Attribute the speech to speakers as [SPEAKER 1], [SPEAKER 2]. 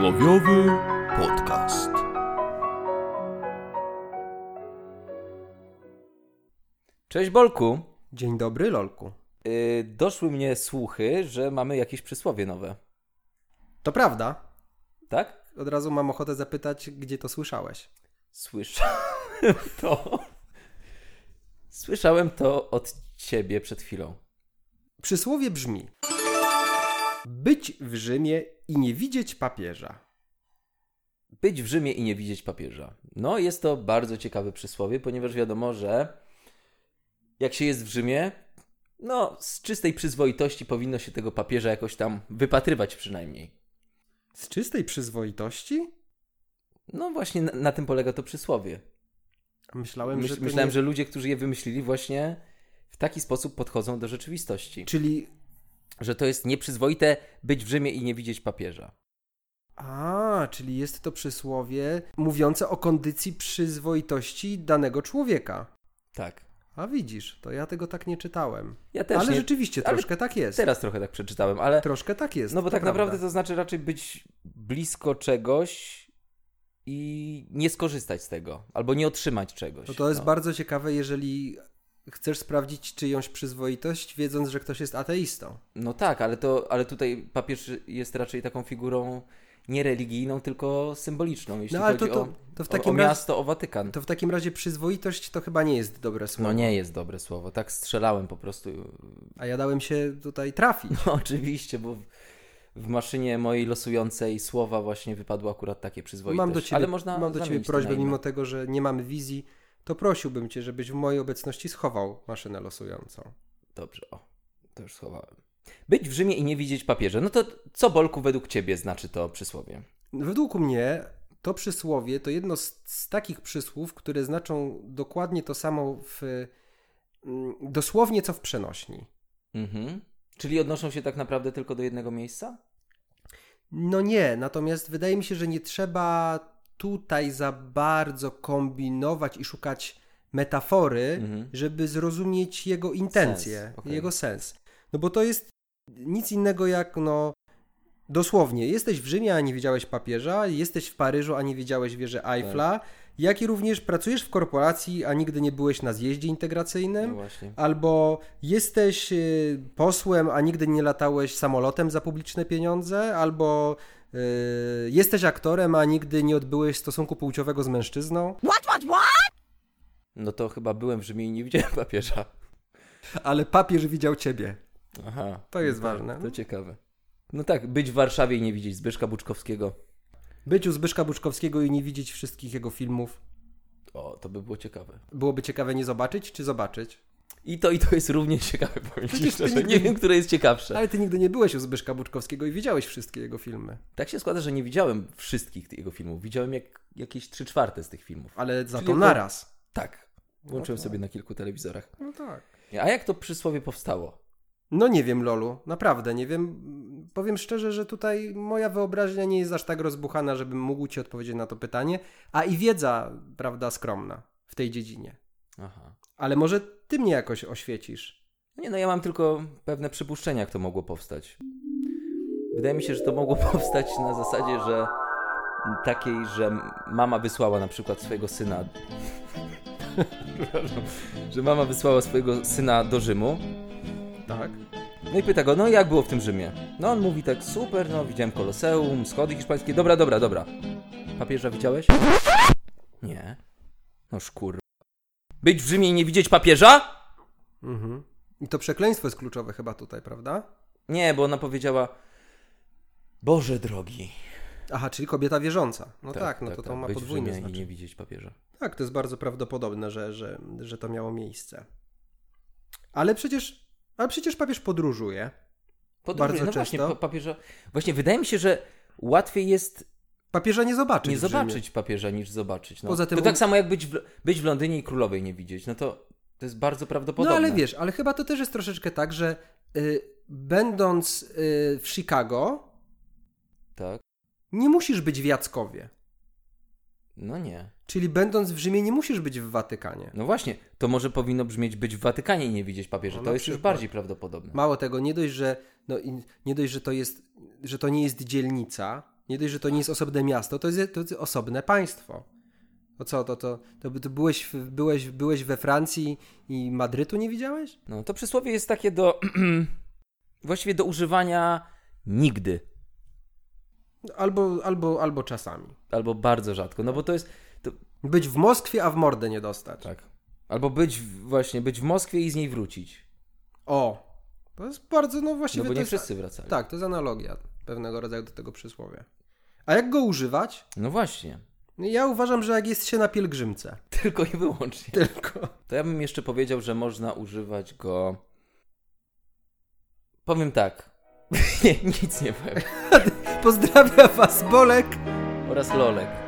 [SPEAKER 1] Bojowy podcast.
[SPEAKER 2] Cześć Bolku.
[SPEAKER 3] Dzień dobry, Lolku.
[SPEAKER 2] Yy, doszły mnie słuchy, że mamy jakieś przysłowie nowe.
[SPEAKER 3] To prawda.
[SPEAKER 2] Tak?
[SPEAKER 3] Od razu mam ochotę zapytać, gdzie to słyszałeś.
[SPEAKER 2] Słyszałem to. Słyszałem to od ciebie przed chwilą.
[SPEAKER 3] Przysłowie brzmi: Być w Rzymie i nie widzieć papieża.
[SPEAKER 2] Być w Rzymie i nie widzieć papieża. No, jest to bardzo ciekawe przysłowie, ponieważ wiadomo, że jak się jest w Rzymie, no, z czystej przyzwoitości powinno się tego papieża jakoś tam wypatrywać przynajmniej.
[SPEAKER 3] Z czystej przyzwoitości?
[SPEAKER 2] No właśnie na, na tym polega to przysłowie.
[SPEAKER 3] Myślałem,
[SPEAKER 2] Myśl,
[SPEAKER 3] że. to
[SPEAKER 2] myślałem,
[SPEAKER 3] nie...
[SPEAKER 2] że ludzie, którzy je wymyślili, właśnie w taki sposób podchodzą do rzeczywistości.
[SPEAKER 3] Czyli.
[SPEAKER 2] Że to jest nieprzyzwoite być w Rzymie i nie widzieć papieża.
[SPEAKER 3] A, czyli jest to przysłowie mówiące o kondycji przyzwoitości danego człowieka.
[SPEAKER 2] Tak.
[SPEAKER 3] A widzisz, to ja tego tak nie czytałem.
[SPEAKER 2] Ja też
[SPEAKER 3] ale
[SPEAKER 2] nie,
[SPEAKER 3] rzeczywiście,
[SPEAKER 2] ale
[SPEAKER 3] troszkę tak jest.
[SPEAKER 2] teraz trochę tak przeczytałem, ale.
[SPEAKER 3] Troszkę tak jest.
[SPEAKER 2] No bo
[SPEAKER 3] to
[SPEAKER 2] tak naprawdę
[SPEAKER 3] prawda.
[SPEAKER 2] to znaczy raczej być blisko czegoś i nie skorzystać z tego, albo nie otrzymać czegoś.
[SPEAKER 3] No to jest
[SPEAKER 2] No.
[SPEAKER 3] bardzo ciekawe, jeżeli chcesz sprawdzić czyjąś przyzwoitość, wiedząc, że ktoś jest ateistą.
[SPEAKER 2] No tak, ale, to, ale tutaj papież jest raczej taką figurą nie religijną, tylko symboliczną, jeśli
[SPEAKER 3] No ale to,
[SPEAKER 2] chodzi
[SPEAKER 3] to,
[SPEAKER 2] o,
[SPEAKER 3] to, w
[SPEAKER 2] o, o
[SPEAKER 3] takim razie,
[SPEAKER 2] miasto, o Watykan.
[SPEAKER 3] to w takim razie przyzwoitość to chyba nie jest dobre słowo.
[SPEAKER 2] No nie jest dobre słowo, tak strzelałem po prostu.
[SPEAKER 3] A ja dałem się tutaj trafić.
[SPEAKER 2] No, oczywiście, bo w, w maszynie mojej losującej słowa właśnie wypadło akurat takie przyzwoitość.
[SPEAKER 3] No, Mam do ciebie,
[SPEAKER 2] Ale można
[SPEAKER 3] mam do ciebie
[SPEAKER 2] zamienić to
[SPEAKER 3] prośbę,
[SPEAKER 2] na inne.
[SPEAKER 3] mimo tego, że nie mamy wizji, to prosiłbym cię, żebyś w mojej obecności schował maszynę losującą.
[SPEAKER 2] Dobrze, o, to już schowałem. Być w Rzymie i nie widzieć papieża. No to co, Bolku, według ciebie znaczy to przysłowie?
[SPEAKER 3] Według mnie to przysłowie to jedno z, z takich przysłów, które znaczą dokładnie to samo w, mm, dosłownie co w przenośni.
[SPEAKER 2] Mhm. Czyli odnoszą się tak naprawdę tylko do jednego miejsca?
[SPEAKER 3] No nie, natomiast wydaje mi się, że nie trzeba tutaj za bardzo kombinować i szukać metafory,
[SPEAKER 2] Mhm.
[SPEAKER 3] żeby zrozumieć jego intencje,
[SPEAKER 2] Sens, okej.
[SPEAKER 3] jego sens. No bo to jest nic innego jak no dosłownie, jesteś w Rzymie, a nie widziałeś papieża, jesteś w Paryżu, a nie widziałeś wieży Eiffla,
[SPEAKER 2] Tak.
[SPEAKER 3] jak i również pracujesz w korporacji, a nigdy nie byłeś na zjeździe integracyjnym.
[SPEAKER 2] No właśnie.
[SPEAKER 3] Albo jesteś y, posłem, a nigdy nie latałeś samolotem za publiczne pieniądze, albo y, jesteś aktorem, a nigdy nie odbyłeś stosunku płciowego z mężczyzną.
[SPEAKER 2] No to chyba byłem w Rzymie i nie widziałem papieża.
[SPEAKER 3] Ale papież widział ciebie.
[SPEAKER 2] Aha.
[SPEAKER 3] Tak, To jest
[SPEAKER 2] No
[SPEAKER 3] ważne.
[SPEAKER 2] To ciekawe. No tak, być w Warszawie i nie widzieć Zbyszka Buczkowskiego.
[SPEAKER 3] Być u Zbyszka Buczkowskiego i nie widzieć wszystkich jego filmów.
[SPEAKER 2] O, to by było ciekawe.
[SPEAKER 3] Byłoby ciekawe nie zobaczyć, czy zobaczyć?
[SPEAKER 2] I to, i to jest równie ciekawe, powiem ci
[SPEAKER 3] Przecież ty
[SPEAKER 2] szczerze.
[SPEAKER 3] nigdy
[SPEAKER 2] Nie
[SPEAKER 3] nie-
[SPEAKER 2] wiem, które jest ciekawsze.
[SPEAKER 3] Ale ty nigdy nie byłeś u Zbyszka Buczkowskiego i widziałeś wszystkie jego filmy.
[SPEAKER 2] Tak się składa, że nie widziałem wszystkich tych jego filmów. Widziałem jak, jakieś trzy czwarte z tych filmów.
[SPEAKER 3] Ale za
[SPEAKER 2] Czyli
[SPEAKER 3] to
[SPEAKER 2] jako-
[SPEAKER 3] naraz.
[SPEAKER 2] Tak. Włączyłem sobie na kilku telewizorach.
[SPEAKER 3] No tak.
[SPEAKER 2] A jak to przysłowie powstało?
[SPEAKER 3] No nie wiem, Lolu, naprawdę nie wiem. Powiem szczerze, że tutaj moja wyobraźnia nie jest aż tak rozbuchana, żebym mógł ci odpowiedzieć na to pytanie, a i wiedza, prawda, skromna w tej dziedzinie.
[SPEAKER 2] Aha.
[SPEAKER 3] Ale może ty mnie jakoś oświecisz.
[SPEAKER 2] Nie no, ja mam tylko pewne przypuszczenia, jak to mogło powstać. Wydaje mi się, że to mogło powstać na zasadzie, że takiej, że mama wysłała na przykład swojego syna. Przepraszam. Że mama wysłała swojego syna do Rzymu.
[SPEAKER 3] Tak?
[SPEAKER 2] No i pyta go, no jak było w tym Rzymie? No on mówi tak, super, no widziałem Koloseum, schody hiszpańskie, dobra, dobra, dobra. Papieża widziałeś? Nie. No szkur... Być w Rzymie i nie widzieć papieża?
[SPEAKER 3] Mhm. I to przekleństwo jest kluczowe chyba tutaj, prawda?
[SPEAKER 2] Nie, bo ona powiedziała, Boże drogi.
[SPEAKER 3] Aha, czyli kobieta wierząca. No tak, no to to ma
[SPEAKER 2] być w
[SPEAKER 3] podwójne
[SPEAKER 2] Rzymie i nie
[SPEAKER 3] znaczenie.
[SPEAKER 2] widzieć papieża.
[SPEAKER 3] Tak, to jest bardzo prawdopodobne, że, że, że to miało miejsce. Ale przecież, ale przecież papież podróżuje.
[SPEAKER 2] Podróż,
[SPEAKER 3] Bardzo
[SPEAKER 2] no właśnie,
[SPEAKER 3] często.
[SPEAKER 2] pa- papieża... Właśnie wydaje mi się, że łatwiej jest
[SPEAKER 3] Papieża nie zobaczyć.
[SPEAKER 2] nie
[SPEAKER 3] w Rzymie.
[SPEAKER 2] zobaczyć papieża niż zobaczyć. No.
[SPEAKER 3] Poza tym
[SPEAKER 2] to
[SPEAKER 3] on-
[SPEAKER 2] tak samo jak być w, być w Londynie i królowej nie widzieć. No to, to jest bardzo prawdopodobne.
[SPEAKER 3] No ale wiesz, ale chyba to też jest troszeczkę tak, że y, będąc y, w Chicago,
[SPEAKER 2] Tak?
[SPEAKER 3] nie musisz być w Jackowie.
[SPEAKER 2] No nie.
[SPEAKER 3] Czyli będąc w Rzymie, nie musisz być w Watykanie.
[SPEAKER 2] No właśnie, to może powinno brzmieć być w Watykanie i nie widzieć papieża.
[SPEAKER 3] No,
[SPEAKER 2] to
[SPEAKER 3] na
[SPEAKER 2] jest już
[SPEAKER 3] przykład.
[SPEAKER 2] bardziej prawdopodobne.
[SPEAKER 3] Mało tego, nie dość, że, no, i nie dość, że, to jest, że to nie jest dzielnica, Nie dość, że to nie jest osobne miasto, to jest, to jest osobne państwo. O co to? To, to, to byłeś, w- byłeś, byłeś we Francji i Madrytu nie widziałeś?
[SPEAKER 2] No, to przysłowie jest takie do. właściwie do używania nigdy.
[SPEAKER 3] Albo, albo, albo czasami.
[SPEAKER 2] Albo bardzo rzadko. No bo to jest.
[SPEAKER 3] Być w Moskwie, a w mordę nie dostać.
[SPEAKER 2] Tak. Albo być w- właśnie, być w Moskwie i z niej wrócić.
[SPEAKER 3] O! To jest bardzo, no
[SPEAKER 2] No
[SPEAKER 3] właściwie
[SPEAKER 2] bo
[SPEAKER 3] to
[SPEAKER 2] nie
[SPEAKER 3] jest,
[SPEAKER 2] wszyscy wracali.
[SPEAKER 3] Tak, to jest analogia pewnego rodzaju do tego przysłowia. A jak go używać?
[SPEAKER 2] No właśnie.
[SPEAKER 3] No Ja uważam, że jak jest się na pielgrzymce.
[SPEAKER 2] Tylko i wyłącznie.
[SPEAKER 3] Tylko.
[SPEAKER 2] To ja bym jeszcze powiedział, że można używać go. Powiem tak. nie, nic nie powiem.
[SPEAKER 3] Pozdrawia was Bolek
[SPEAKER 2] Oraz Lolek.